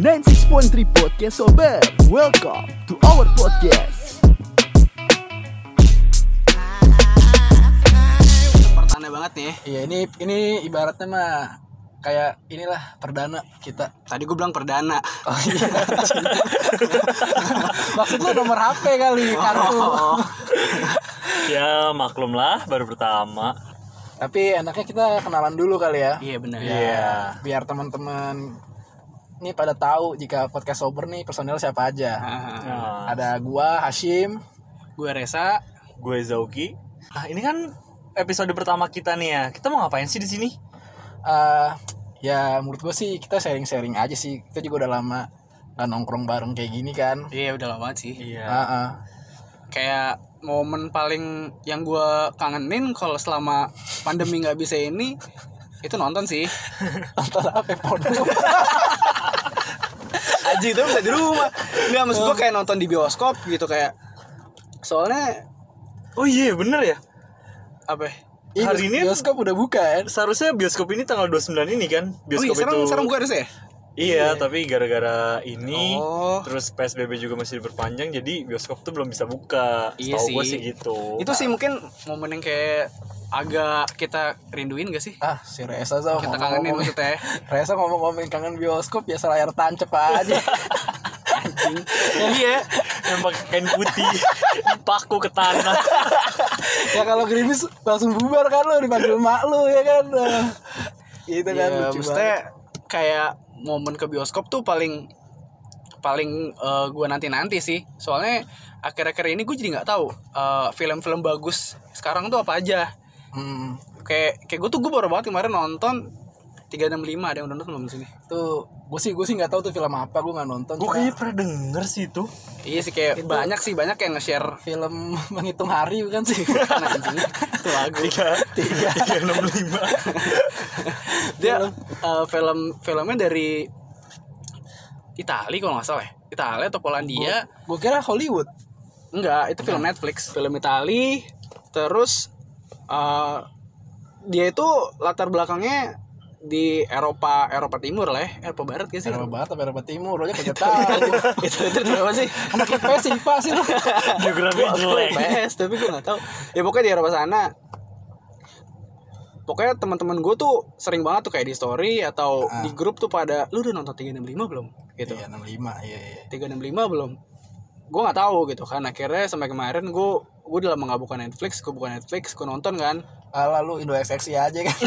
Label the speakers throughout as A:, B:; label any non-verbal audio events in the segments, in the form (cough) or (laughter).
A: 96.3 Podcast Sober Welcome to our podcast
B: pertanda banget nih
C: Iya ini ini ibaratnya mah kayak inilah perdana kita.
B: tadi gue bilang perdana
C: Oh iya. Maksud lu nomor HP kali kartu.
D: Ya maklum lah baru pertama
C: (laughs) Tapi enaknya kita kenalan dulu kali ya.
B: iya benar
C: Ya, Biar teman-teman nih pada tahu jika podcast sober nih personil siapa aja.
D: nah,
C: Ada gua Hashim.
B: gue Resa
D: Gue Zauki nah, Ini kan episode pertama kita nih ya Kita mau ngapain sih di sini?
C: Eh, ya menurut gua sih kita sharing-sharing aja sih. Kita juga udah lama nggak nongkrong bareng kayak gini kan. Ah,
B: iya udah lama banget sih
D: Iya
C: Heeh.
B: kayak momen paling yang gue kangenin kalau selama pandemi nggak bisa ini itu nonton
D: (laughs)
B: sih
C: Nonton apa
B: (laughs)
C: Porno.
B: Aji itu bisa di rumah nggak maksud
D: Oh.
B: gue kayak nonton di bioskop gitu kayak soalnya
D: Oh iya bener ya
B: apa ya?
C: Ih,
D: Hari ini-
C: bioskop udah buka kan?
D: Seharusnya bioskop ini tanggal 29 ini kan
B: Oh iya,
D: Bioskop
B: serem,
D: itu
B: serem gue Resa ya?
D: Iya tapi gara-gara ini
B: Oh.
D: Terus PSBB juga masih diperpanjang Jadi bioskop tuh belum bisa buka
B: Iya
D: Setahu gue
B: sih.
D: sih gitu
B: Itu sih mungkin momen yang kayak agak kita rinduin gak sih?
C: Ah, si Reza sama
B: Kita kangenin (laughs) maksudnya
C: Reza ngomong-ngomong kangen bioskop ya layar tancep aja. (laughs)
D: Iya (laughs) Yang pakai kain putih (laughs) Dipaku ke tanah
C: ya kalau gerimis langsung bubar kan lo dipanggil mak lo ya kan. (laughs) Ah, Itu kan
B: ya,
C: lucu
B: maksudnya kayak momen ke bioskop tuh paling paling eh, gua nanti nanti sih soalnya akhir-akhir ini gue jadi nggak tahu eh, film-film bagus sekarang tuh apa aja
C: banget. Hmm,
B: kayak kayak gue tuh gue baru banget kemarin nonton 365 ada yang udah nonton belum di sini
C: tuh gue sih gue sih nggak tahu tuh film apa gue nggak nonton.
D: Gue
C: Cuma
D: kayaknya pernah denger sih itu
B: iya sih kayak banyak sih banyak yang nge-share
C: film (laughs) menghitung hari bukan (laughs) sih.
B: Nah, anjing, itu lagu
D: Tiga Tiga enam lima
B: dia eh, film filmnya dari Itali kalau nggak salah ya Itali atau Polandia
C: gue kira Hollywood.
B: Enggak, itu film Netflix, film Itali. Terus eh, dia itu latar belakangnya di Eropa Eropa Timur lah ya, Eropa Barat gak sih?
C: Eropa Barat, apa Eropa Timur, lo aja (laughs) kagak tahu.
B: (laughs) itu itu itu apa sih?
C: Anak IPS sih, IPA sih lo.
D: Geografi
B: Gue
D: jelek
B: PS, tapi gue gak tahu. Ya pokoknya di Eropa sana. Pokoknya teman-teman gue tuh sering banget tuh kayak di story atau
C: Ah.
B: di grup tuh pada lu udah nonton 365 belum? Gitu.
C: Iya 65, iya iya.
B: 365 belum gue nggak tahu gitu kan akhirnya sampai kemarin gue gue udah lama nggak buka Netflix gue buka Netflix gue nonton kan
C: Ala lu Indo XXI aja kan.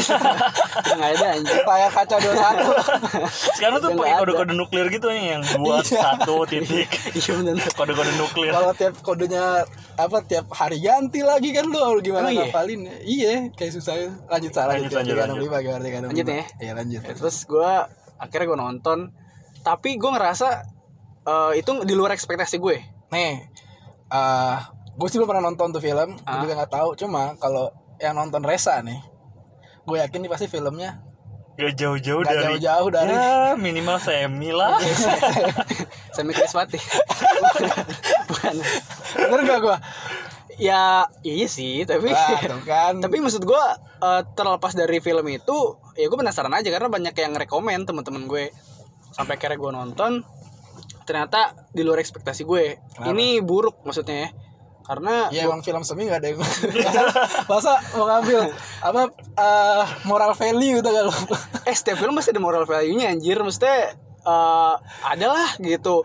C: (laughs)
B: nggak ada anjir
C: Layar kaca 21.
D: Sekarang tuh
B: Udah
D: pakai
B: nggak ada.
D: kode-kode nuklir gitu nih yang dua satu titik
B: iya bener
D: kode-kode nuklir.
C: kalau tiap kodenya apa tiap hari ganti lagi kan lu harus
B: Oh,
C: gimana
B: iya?
C: ngapalin iya kayak susah lanjut salah
D: Lanjut, lanjut, lanjut.
C: gimana gimana
B: Lanjut ya?
C: iya lanjut
B: Ya, terus gue akhirnya gue nonton tapi gue ngerasa eh, itu di luar ekspektasi gue
C: nih eh gue sih belum pernah nonton tuh film gue
B: Ah.
C: juga nggak tahu cuma kalau yang nonton Resa nih gue yakin nih pasti filmnya
D: Gak jauh-jauh
C: Nggak
D: dari.
C: jauh-jauh dari.
D: Ya, minimal semi lah.
B: Semi Kriswati (laughs) bukan
C: bener gak gue
B: ya iya sih tapi
C: Wah, tuh kan
B: tapi maksud gue eh, terlepas dari film itu ya gue penasaran aja karena banyak yang rekomen teman-teman gue sampai akhirnya gue nonton ternyata di luar ekspektasi gue
C: Kenapa?
B: ini buruk maksudnya ya. karena
C: Ya emang film semi gak ada yang
B: (laughs)
C: masa, masa mau ngambil apa eh, moral value gitu kan tuh kalau
B: eh setiap film pasti ada moral value-nya anjir maksudnya eh ada lah gitu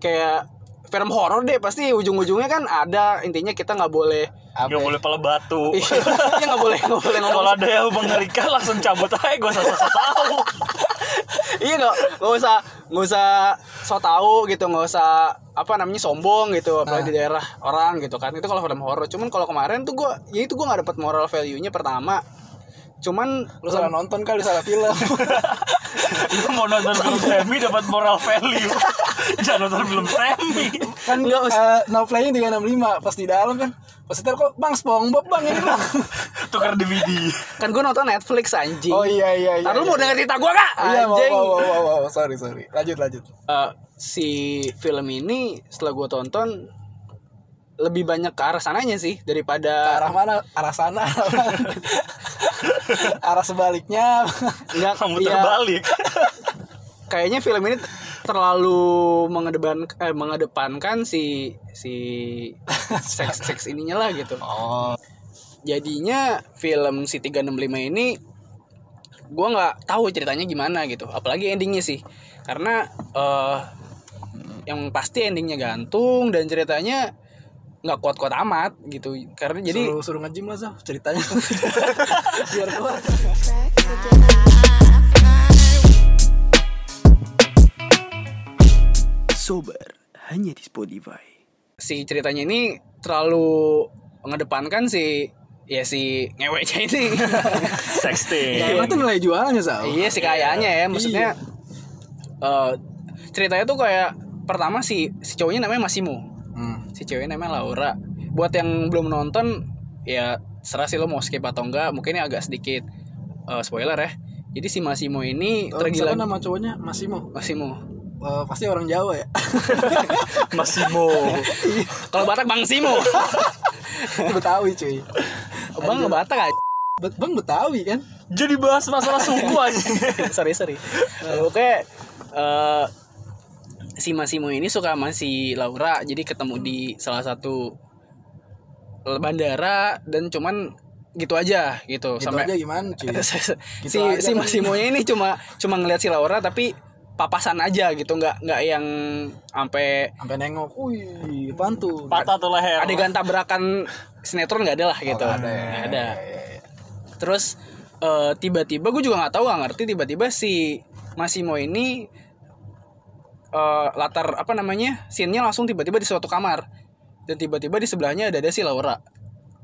B: kayak film horor deh pasti ujung-ujungnya kan ada intinya kita nggak boleh
D: Gak boleh pala batu.
B: (laughs) ya nggak boleh nggak boleh ngomong
D: Kalau ada yang mengerikan langsung cabut aja gue sasa tahu.
B: (laughs) iya nggak nggak usah nggak usah so tau gitu nggak usah apa namanya sombong gitu apalagi di daerah orang gitu kan itu kalau film horor cuman kalau kemarin tuh gue ya itu gue nggak dapet moral value nya pertama cuman
C: lu salah nonton kali salah film
D: Lu mau nonton film semi dapat moral value. (laughs) Jangan nonton film semi.
C: kan
B: Nggak, Mas.
C: nggak no playing 365 pas di dalam kan pas ntar kok bang SpongeBob bang ini
B: (laughs)
C: bang
D: Tukar DVD.
B: kan gue nonton Netflix anjing
C: oh iya iya iya
B: Ntar lu mau
C: iya.
B: denger cerita gue gak?
C: iya mau
B: Anjing.
C: mau mau, mau mau sorry sorry lanjut lanjut
B: Eh, si film ini setelah gue tonton lebih banyak ke arah sananya sih
C: Ke
B: daripada
C: arah mana arah
B: (laughs)
C: sana arah mana? arah sebaliknya
B: enggak
D: Kamu
B: iya,
D: terbalik.
B: kayaknya film ini terlalu mengedepan eh, mengedepankan si si seks seks ininya lah gitu
C: Oh,
B: jadinya film si 365 ini gua nggak tahu ceritanya gimana gitu apalagi endingnya sih karena eh yang pasti endingnya gantung dan ceritanya nggak kuat-kuat amat gitu karena jadi (laughs)
C: jadi suruh, suruh ngejim lah Zal, ceritanya. Biar keluar.
A: Sober hanya di Spotify.
B: si ceritanya ini terlalu mengedepankan si ya si ngeweknya ini
D: sexting
C: Ya,
B: Eh.
C: emang tuh nilai jualnya Zal.
B: iya si kayaknya ya maksudnya
C: Iya.
B: eh, ceritanya tuh kayak pertama si si cowoknya namanya Masimo
C: Hmm.
B: si ceweknya namanya Laura buat yang belum nonton ya serah sih lo mau skip atau enggak mungkin ini agak sedikit eh, spoiler ya jadi si Masimo ini
C: Kalau
B: Eh, tergila
C: misalkan Oh, nama cowoknya Masimo,
B: Masimo
C: eh, pasti orang Jawa ya. (laughs)
D: Masimo
B: (laughs) kalau Batak Bang Simo
C: (laughs) Betawi cuy.
B: Bang nggak Batak aja
C: Bet- Bang Betawi kan?
D: jadi bahas masalah suku aja
B: (laughs) sorry
C: (laughs)
B: sorry Nah, oke eh, si Masimo ini suka sama si Laura jadi ketemu di salah satu bandara dan cuman gitu aja gitu,
C: Gitu
B: sampai (laughs)
C: aja gimana cuy?
B: si
C: aja
B: si
C: kan.
B: Masimonya ini cuma cuma ngeliat si Laura tapi papasan aja gitu nggak nggak yang sampai
C: Sampai nengok, wih, apaan tuh?
D: patah tuh leher
B: adegan tabrakan sinetron nggak ada lah gitu
C: nggak ada ya.
B: Nggak ada terus eh, tiba-tiba gue juga nggak tahu nggak ngerti tiba-tiba si Masimo ini eh, latar apa namanya scene-nya langsung tiba-tiba di suatu kamar dan tiba-tiba di sebelahnya ada ada si Laura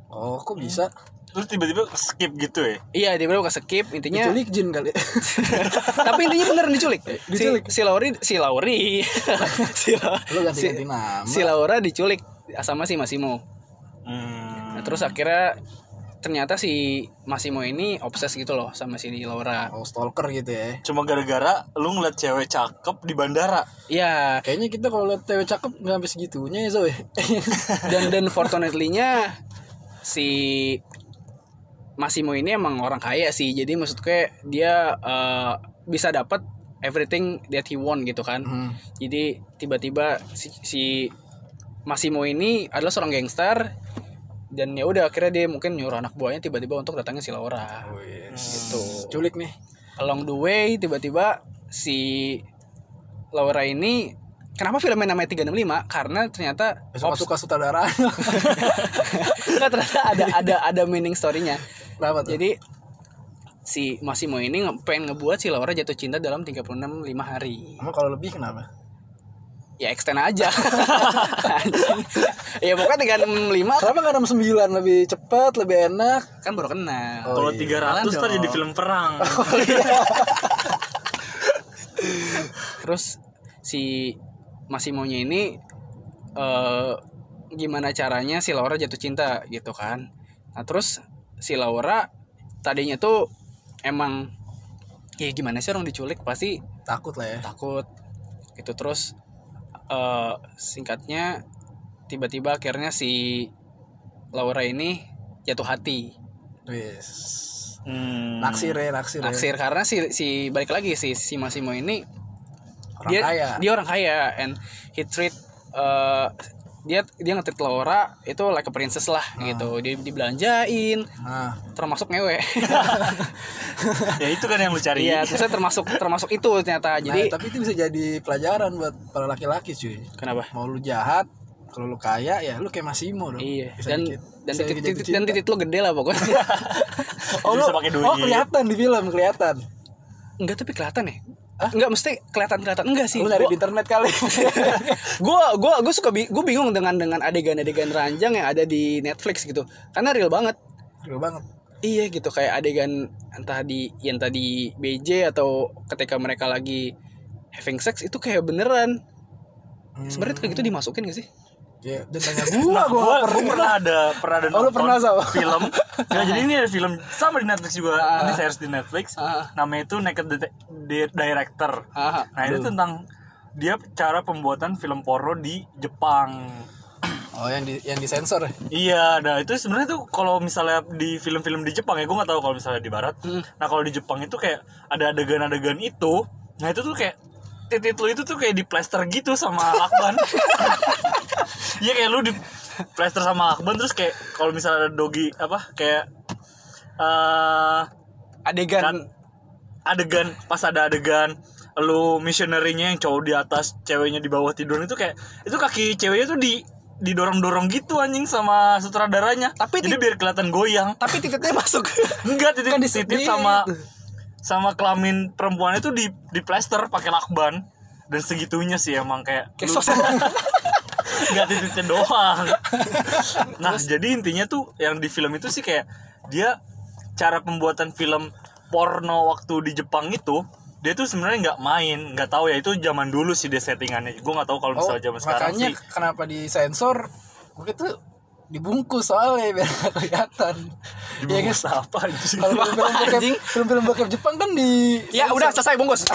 C: Oh, kok bisa?
D: terus tiba-tiba skip gitu ya
B: iya dia bilang skip intinya
C: Diculik jin kali.
B: (laughs)
C: (laughs)
B: tapi intinya bener diculik
C: Diculik.
B: si, si Lauri si Lauri (laughs) si, La-
C: Lu
B: si-
C: ganti-ganti nama.
B: si Laura diculik sama si Masimo
D: hmm.
B: nah, terus akhirnya ternyata si Masimo ini obses gitu loh sama si Laura
C: Oh, stalker gitu ya.
D: cuma gara-gara lu ngeliat cewek cakep di bandara
B: ya
C: Kayaknya kita kalau lihat cewek cakep nggak sampai segitunya ya
B: (laughs)
C: Zoe.
B: dan dan fortunately-nya si Masimo ini emang orang kaya sih jadi maksudnya dia eh, bisa dapat everything that he want gitu kan
C: Hmm.
B: Jadi tiba-tiba si, si Masimo ini adalah seorang gangster dan ya udah akhirnya dia mungkin nyuruh anak buahnya tiba-tiba untuk datangin si Laura. Gitu.
C: Culik nih.
B: Along the way tiba-tiba si Laura ini kenapa filmnya namanya 365? Karena ternyata (laughs)
C: Besok
B: obs-
C: suka sutradara. (laughs)
B: Nggak, ternyata ada ada ada meaning story-nya.
C: Kenapa tuh?
B: Jadi si Masimo ini nge- pengen ngebuat si Laura jatuh cinta dalam 36 lima hari.
C: Emang kalau lebih kenapa?
B: Ya extend aja. (laughs) Anjing. ya pokoknya 365
C: Kenapa nggak 69 lebih cepat, lebih enak?
B: kan baru kenal.
C: Oh,
D: kalau
C: iya.
D: 300
B: Malah
D: kan
B: dong.
D: jadi film
C: (laughs)
D: perang
B: Terus si Masimonya ini eh gimana caranya si Laura jatuh cinta gitu kan. Nah, terus si Laura tadinya tuh emang ya gimana sih orang diculik pasti
C: Takut lah ya.
B: takut gitu terus eh singkatnya tiba-tiba akhirnya si Laura ini jatuh hati
C: Wis.
D: hmm.
C: Naksir ya, naksir. ya.
B: naksir karena si si balik lagi si si Masimo ini
C: Orang
B: dia
C: kaya.
B: dia orang kaya and he treat uh, dia dia nge-treat Laura itu like a princess lah
C: Hmm.
B: gitu dia dibelanjain
C: Nah,
B: termasuk ngewe
D: ya itu kan yang lu
B: (laughs)
D: cari
B: iya terus termasuk termasuk itu ternyata
C: Jadi,
B: jadi
C: Nah, tapi itu bisa jadi pelajaran buat para laki-laki cuy.
B: kenapa
C: Mau lu jahat, kalau lu kaya ya lu kayak Masimo dong.
B: iya
C: Bisa
B: dan
C: dikit-
B: dan
C: bisa
B: titik,
C: dikit
B: titik-
C: jatuh
B: dan
C: cinta.
B: titik lo gede lah pokoknya (laughs)
D: oh,
C: lu-
D: bisa pakai duit
C: Oh, kelihatan di film, kelihatan.
B: enggak tapi kelihatan ya enggak mesti kelihatan kelihatan enggak sih
C: Lu nyari
B: Gua-
C: di internet
D: (laughs)
C: kali.
B: gue gue gue suka bi- gue bingung dengan dengan adegan-adegan ranjang yang ada di Netflix gitu karena real banget
C: Real banget.
B: Iya gitu kayak adegan entah di yang tadi BJ atau ketika mereka lagi having sex itu kayak beneran.
C: Hmm.
B: Sebenarnya kayak gitu dimasukin gak sih?
C: Ya, dia tanya gua, gua
D: Nah, gua,
C: nggak
D: gua
C: pernah.
D: pernah ada pernah ada
C: Oh, lu
D: nonton
C: pernah, Sal? (laughs)
D: film ya jadi ini ada film sama di Netflix juga nanti saya harus di Netflix
B: Ah.
D: namanya itu Naked Dete- Di- Director
B: Ah.
D: nah ini tentang dia cara pembuatan film porno di Jepang
C: Oh, yang di yang disensor. ya?
D: Iya, nah itu sebenarnya tuh kalau misalnya di film-film di Jepang ya gue nggak tahu kalau misalnya di Barat. Nah kalau di Jepang itu kayak ada adegan-adegan itu, nah itu tuh kayak titik lu itu tuh kayak diplester gitu sama lakban iya kayak lu diplester sama lakban terus kayak kalau misalnya ada dogi apa kayak eh
B: adegan
D: adegan pas ada adegan lu missionary-nya yang cowok di atas ceweknya di bawah tidur itu kayak itu kaki ceweknya tuh di didorong-dorong gitu anjing sama sutradaranya
B: Tapi
D: jadi
B: ti-
D: biar kelihatan goyang
B: tapi titiknya masuk
D: enggak titik
B: Kan disebut.
D: titik sama sama kelamin perempuannya tuh di di plaster pakai lakban dan segitunya sih emang kayak
B: kayak
D: lu- (laughs)
B: sosok
D: nggak titiknya doang nah jadi intinya tuh yang di film itu sih kayak dia cara pembuatan film porno waktu di Jepang itu dia tuh sebenarnya nggak main nggak tahu ya itu zaman dulu sih dia settingannya gue nggak tahu
C: Oh,
D: kalau misalnya zaman sekarang
C: makanya
D: sih
C: kenapa disensor? Begitu dibungkus soalnya biar nggak kelihatan. Iya guys. (laughs)
D: dibungkus
C: Kalau film-film
D: apa anjing?
C: bokep,
B: Anjing.
C: film-film bokep Jepang kan di
B: ya udah selesai (laughs) bungkus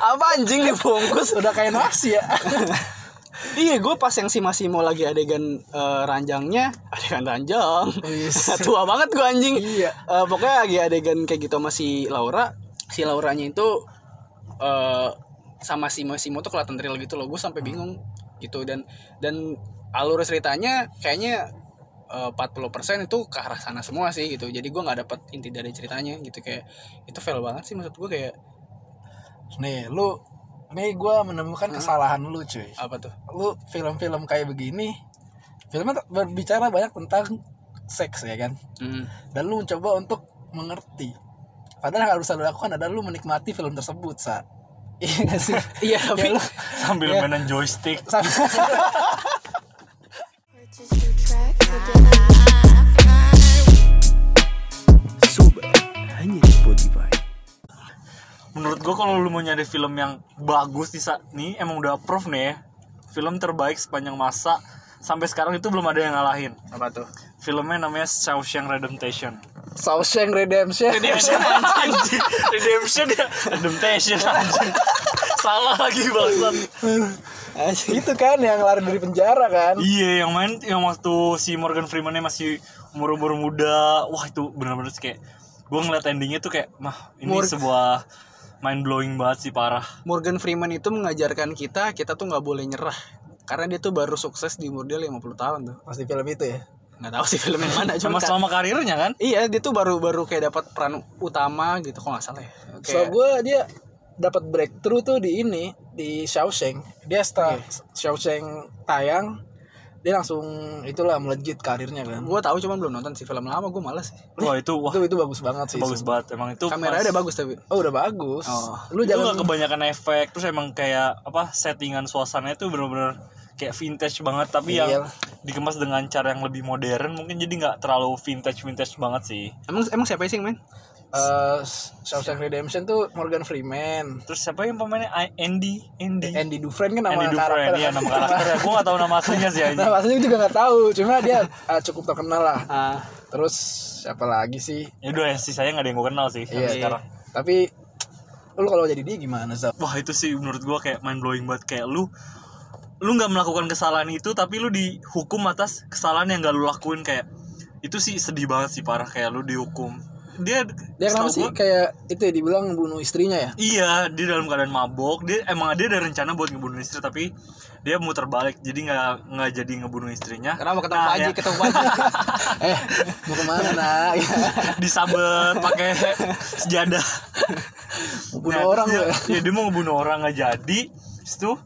B: apa anjing dibungkus
C: udah
B: (laughs)
C: kayak nasi ya.
B: Iya, gue pas yang si Masimo lagi adegan eh, ranjangnya, (laughs) adegan ranjang.
C: Wis.
B: (laughs) Tua banget gue anjing.
C: Iya.
B: Eh, pokoknya lagi adegan kayak gitu sama si Laura. Si Lauranya itu eh sama si Masimo tuh kelihatan real gitu loh. Gue sampai
C: Hmm.
B: bingung gitu dan dan alur ceritanya kayaknya eh, 40% itu ke arah sana semua sih gitu. Jadi gue nggak dapet inti dari ceritanya gitu kayak itu fail banget sih maksud gue kayak
C: Nih, lu nih gua menemukan kesalahan lu, cuy.
B: apa tuh?
C: Lu film-film kayak begini filmnya t- berbicara banyak tentang seks ya kan.
B: Hmm.
C: Dan lu mencoba untuk mengerti. Padahal yang harus lu lakukan adalah lu menikmati film tersebut, Sa. (laughs) Iya nggak sih?
B: Iya,
C: (laughs)
B: tapi-
C: Ya, lu-
D: sambil
C: Ya.
D: mainan joystick
C: sama-
E: Purchase your track together.
A: Sobat, hanya di Spotify.
D: menurut gue kalau lu mau nyari film yang bagus di saat ini emang udah approve nih ya film terbaik sepanjang masa sampai sekarang itu belum ada yang ngalahin
B: Apa tuh?
D: filmnya namanya Shawshank Redemption
C: Shawshank Redemption. (laughs)
D: Redemption anjing Redemption ya Redemption anjing Salah lagi bangsat
C: itu kan yang lari dari penjara kan.
D: Iya yang main Yang waktu si Morgan Freemannya masih Umur-umur muda Wah itu bener-bener sih kayak Gue ngeliat endingnya tuh kayak Mah ini
B: Mor-
D: sebuah Mind blowing banget sih parah
B: Morgan Freeman itu mengajarkan kita kita tuh nggak boleh nyerah karena dia tuh baru sukses di umur dia 50 tahun tuh
C: Pasti film itu ya.
B: nggak tahu sih film yang (laughs) mana cuma
D: Cuma selama karirnya kan
B: iya dia tuh baru baru kayak dapat peran utama gitu kok nggak salah ya
C: So
B: Kayak-
C: gue dia dapat breakthrough tuh di ini di Shawshank. Dia setelah Shawshank tayang dia langsung itulah melejit karirnya kan.
B: gua tahu cuman belum nonton sih film lama gua malas sih
D: Wah itu wah
C: Itu itu bagus banget sih.
D: bagus
C: sumpah.
D: banget emang itu
B: kameranya
D: pas-
B: udah bagus tapi
C: Oh udah bagus.
B: Oh.
C: Lu
D: itu
C: jangan
D: nggak kebanyakan efek terus emang kayak apa settingan suasananya itu bener-bener kayak vintage banget tapi yang
C: Iya.
D: dikemas dengan cara yang lebih modern mungkin jadi nggak terlalu vintage vintage banget sih
B: emang emang siapa sih men
C: eh, Shawshank Redemption tuh Morgan Freeman.
D: terus siapa yang pemainnya I- Andy Andy
C: Andy Dufresne kan nama
D: Andy
C: karakter.
D: Dufresne ya nama karakternya gue nggak tahu nama aslinya sih aja
C: (laughs) Nah, maksudnya juga nggak tahu, cuma dia eh, cukup terkenal lah.
B: ah
C: Terus siapa lagi sih?
D: ya udah ya sih saya nggak ada yang gue kenal sih sampai
C: Iya,
D: sekarang
C: Tapi lu kalau jadi dia gimana, Zap?
D: wah itu sih menurut gue kayak mind blowing banget kayak lu lu nggak melakukan kesalahan itu tapi lu dihukum atas kesalahan yang gak lu lakuin kayak itu sih sedih banget sih parah kayak lu dihukum dia
C: Dia
D: setahu
C: kenapa sih
D: gua-
C: kayak itu ya dibilang bunuh istrinya
D: (laughs)
C: ya?
D: Iya, dia dalam keadaan mabok. Dia emang dia ada rencana buat ngebunuh istri tapi dia muter balik jadi nggak nggak jadi ngebunuh istrinya.
B: kenapa ketemu
D: Nah,
B: Pak Haji
D: ya,
B: ketemu Pak (laughs) Haji
C: eh, mau kemana nak?
D: Gitu. (laughs) disabet pakai sejadah.
C: Bunuh
D: Nah,
C: orang
D: terus
C: lu
D: dia-
C: ya?
D: Ya dia mau ngebunuh orang nggak jadi. Terus tuh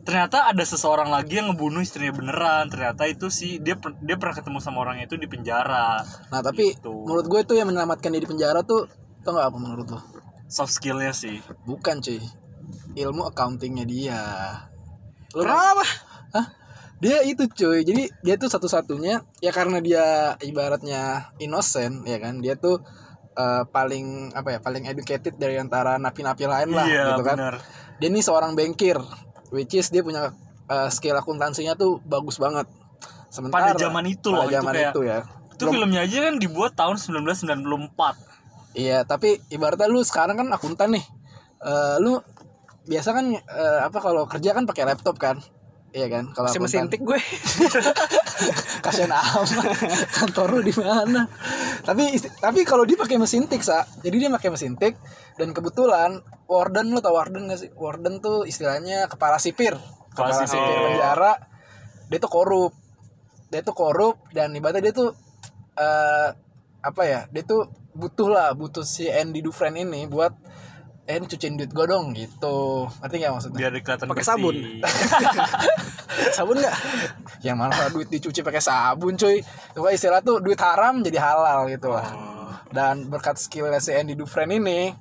D: ternyata ada seseorang lagi yang ngebunuh istrinya beneran. Ternyata itu sih dia per- dia pernah ketemu sama orangnya itu di penjara.
C: Nah tapi
D: Gitu.
C: menurut gue tuh yang menyelamatkan dia di penjara tuh Tau gak apa menurut lo?
D: Soft skillnya sih.
C: Bukan cuy Ilmu accountingnya dia Lu- kan-
B: kenapa
C: Hah? Dia itu cuy Jadi dia tuh satu-satunya Ya karena dia ibaratnya innocent ya kan Dia tuh eh, paling apa ya paling educated dari antara napi-napi lain lah
D: iya
C: gitu kan
D: bener.
C: dia ini seorang bankir which is dia punya eh, skill akuntansinya tuh bagus banget sementara
D: Pada zaman itu
C: pada
D: loh, itu
C: zaman
D: kayak-
C: itu ya
D: Itu filmnya aja kan dibuat tahun 1994.
C: iya tapi ibaratnya lu sekarang kan akuntan nih Eh, lu biasa kan eh, apa kalau kerja kan pakai laptop kan Iya kan? Kalau
B: Masih
C: akuntan-
B: mesin tik gue.
C: kasihan amat kantor lu di mana tapi isti- tapi kalau dia pakai mesin tik sa jadi dia pakai mesin tik dan kebetulan warden lu tau warden gak sih warden tuh istilahnya kepala sipir kepala,
D: Kepala sipir.
C: sipir. penjara dia tuh korup dia tuh korup dan ibaratnya dia tuh eh apa ya dia tuh butuh lah butuh si Andy Dufresne ini buat eh ini cuciin duit gue dong gitu ngerti gak maksudnya
D: biar kelihatan
B: Pakai
D: bersih.
B: sabun. Sabun enggak?
C: yang malah duit dicuci pakai sabun cuy Pokoknya istilah tuh duit haram jadi halal gitu lah
D: Oh.
C: dan berkat skillnya si Andy Dufresne ini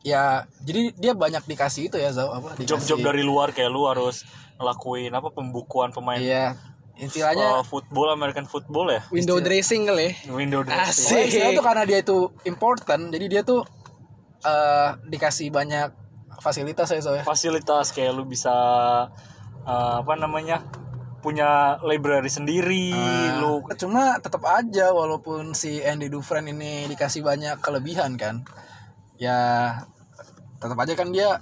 C: ya jadi dia banyak dikasih itu ya Zau apa dikasih-
D: (laughs) job-job dari luar kayak lu harus ngelakuin apa pembukuan pemain
C: iya
D: uh,
C: istilahnya
D: football American football ya
B: (laughs) Window dressing kali.
D: window dressing
B: Asik.
C: pokoknya istilahnya tuh karena dia itu important jadi dia tuh eh dikasih banyak fasilitas ya Zau ya
D: fasilitas kayak lu bisa uh, apa namanya punya library sendiri
C: Ah.
D: lu
C: cuma tetap aja walaupun si Andy Dufresne ini dikasih banyak kelebihan kan ya tetap aja kan dia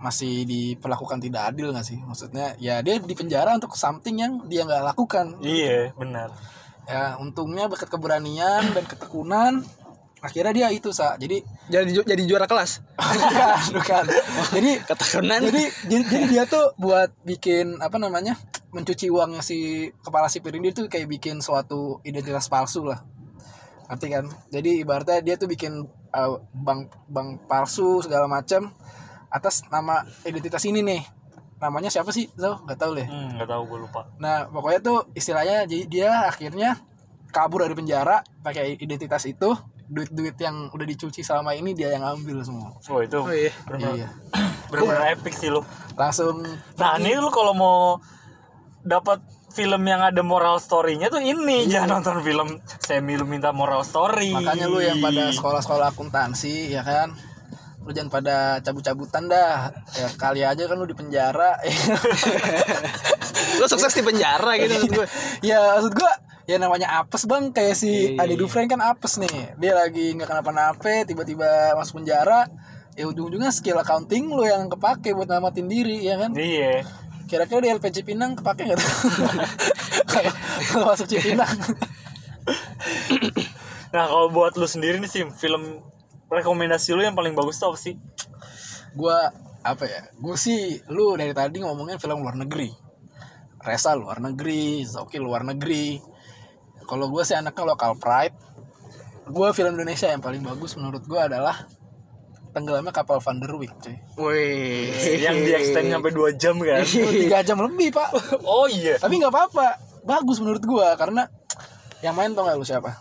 C: masih diperlakukan tidak adil nggak sih maksudnya ya dia dipenjara untuk something yang dia nggak lakukan
D: iya benar
C: ya untungnya berkat keberanian dan ketekunan akhirnya dia itu sa jadi (laughs)
B: Jadi ju- jadi juara kelas.
C: bukan, bukan. jadi
B: Ketekunan.
C: jadi, jadi jadi dia tuh buat bikin apa namanya mencuci uangnya si kepala sipir ini tuh kayak bikin suatu identitas palsu lah ngerti kan jadi ibaratnya dia tuh bikin eh, bank bank palsu segala macam atas nama identitas ini nih namanya siapa sih Zau? nggak tahu deh
D: hmm, nggak tahu gue lupa
C: Nah, pokoknya tuh istilahnya jadi dia akhirnya kabur dari penjara pakai identitas itu, duit-duit yang udah dicuci selama ini dia yang ambil semua.
D: oh itu
B: (laughs) Oh iya.
D: benar
C: Iya.
D: benar epic sih lu
C: Langsung
D: nah ini lu kalau mau dapat film yang ada moral story-nya tuh ini jangan nonton film semi lu minta moral story
C: Iya. makanya lu yang pada sekolah-sekolah akuntansi ya kan. Lu jangan pada cabut-cabutan dah. Ya kali aja kan lu di penjara. (laughs)
B: Lo sukses di penjara gitu maksud gue.
C: ya maksud gua ya namanya apes bang kayak si Ade Dufresne kan apes nih dia lagi nggak kenapa-napa tiba-tiba masuk penjara ya ujung-ujungnya skill accounting lu yang kepake buat namatin diri ya kan
D: iya
C: kira-kira di LPG Pinang kepake nggak tuh (laughs) Kalau- kalau masuk Cipinang
D: nah kalau buat lu sendiri nih sih film rekomendasi lu yang paling bagus tuh apa sih
C: gua apa ya gua sih lu dari tadi ngomongin film luar negeri Resa luar negeri Zoki luar negeri kalau gua sih anaknya lokal pride gua film Indonesia yang paling bagus menurut gua adalah tenggelamnya kapal Van der Wijk cuy
B: Woi.
C: Iya.
D: yang di extend sampai 2 jam kan
C: Itu tiga jam lebih pak
D: oh iya
C: tapi nggak apa-apa bagus menurut gua karena yang main tau gak lu siapa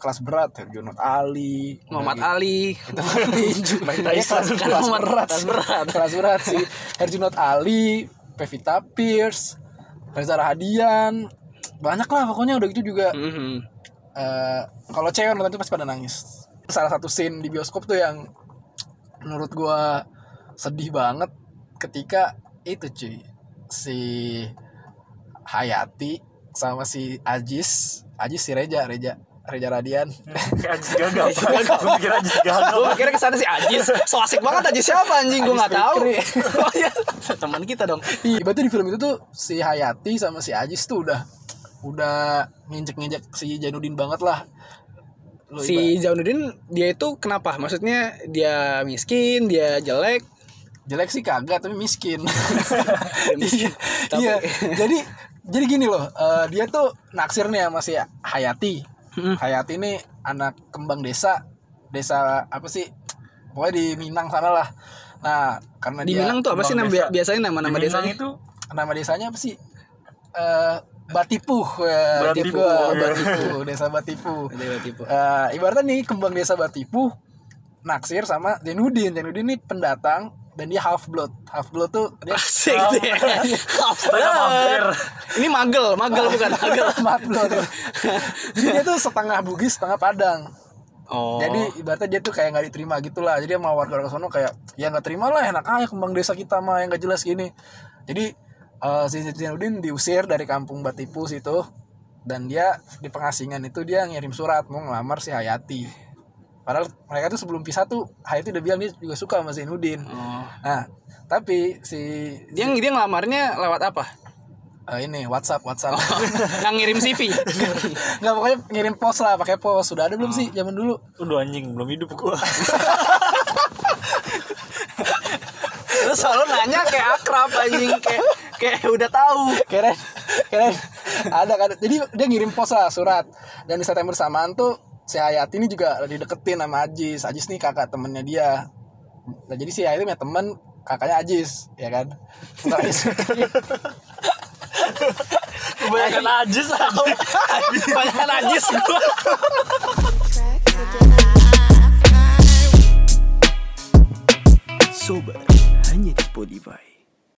C: kelas berat Herjunot Ali
B: Muhammad Ali.
C: tinju
B: Tyson.
C: Iya, kelas, kelas
B: Muhammad-
C: berat
B: kelas
C: sih.
B: berat.
C: kelas berat sih Herjunot Ali Pevita Pierce Reza Rahadian banyak lah pokoknya udah gitu juga
B: Mhm.
C: Eh, kalau cewek nonton itu pasti pada nangis salah satu scene di bioskop tuh yang menurut gua sedih banget ketika itu cuy si Hayati sama si Ajis Ajis si Reja Reja Reja Radian
D: Eh, Ajis gagal. Gue kira Ajis gagal.
B: Gue mikirnya kesana si Ajis So asik banget Ajis siapa anjing Gue
C: Ajis
B: gak tahu.
C: Fikri.
B: (laughs) Oh iya Teman kita dong
C: Iya, berarti di film itu tuh si Hayati sama si Ajis tuh udah udah nginjek-nginjek si Janudin banget lah. Lu iba-
B: Si Jaunuddin Dia itu kenapa Maksudnya Dia miskin Dia jelek
C: jelek sih kagak tapi
B: (laughs)
C: miskin.
B: miskin.
C: Iya.
B: (laughs) Tapi-
C: Iya. Jadi jadi gini loh, eh, dia tuh naksir nih sama si Hayati.
B: Mm.
C: Hayati ini anak kembang desa. Desa apa sih? Pokoknya di Minang sana lah. Nah, karena
B: Di
C: dia
B: Minang tuh apa sih
D: Bang
B: nama,
D: desa.
B: Biasanya nama-nama
D: Di Minang
B: desanya
D: itu
C: nama desanya apa sih? Eh Batipuh, eh,
D: Batipuh.
C: Tipu, eh, Batipuh, desa Batipuh.
B: Ada tipe.
C: Eh, ibaratnya nih kembang desa Batipuh naksir sama Zainuddin. Zainuddin ini pendatang dan dia half blood. Half blood tuh
B: (laughs)
C: dia (laughs)
B: Asik deh.
D: Setengah mampir.
B: Ini magel, magel bukan magel.
C: half blood. Jadi dia tuh setengah Bugis, setengah Padang.
B: Oh.
C: Jadi ibaratnya dia tuh kayak nggak diterima gitu lah. Jadi sama warga warga sono kayak ya nggak terima lah enak aja kembang desa kita mah yang nggak jelas gini. Jadi eh, si Zainuddin diusir dari kampung Batipu situ dan dia di pengasingan itu dia ngirim surat mau ngelamar si Hayati. Padahal mereka tuh sebelum pisah tuh Hayati udah bilang dia juga suka sama Zainuddin.
B: Oh.
C: Nah, tapi si
B: Dia dia ngelamarnya lewat apa?
C: eh, ini WhatsApp WhatsApp
B: Oh. Nggak ngirim CV.
C: (laughs) nggak pokoknya ngirim pos lah pakai pos sudah ada belum
B: Oh.
C: sih zaman dulu
D: Udah anjing belum hidup gua.
B: Terus selalu nanya kayak akrab anjing kayak kayak udah tahu.
C: keren keren ada kan jadi dia ngirim pos lah surat dan di September bersamaan tuh si Hayati ini juga dideketin sama Ajis Ajis nih kakak temennya dia nah jadi si Hayati punya temen kakaknya Ajis ya kan Bukan Ajis.
D: Kebanyakan najis anjing. Kebanyakan najis gua.
E: Track for dinner.
A: Sober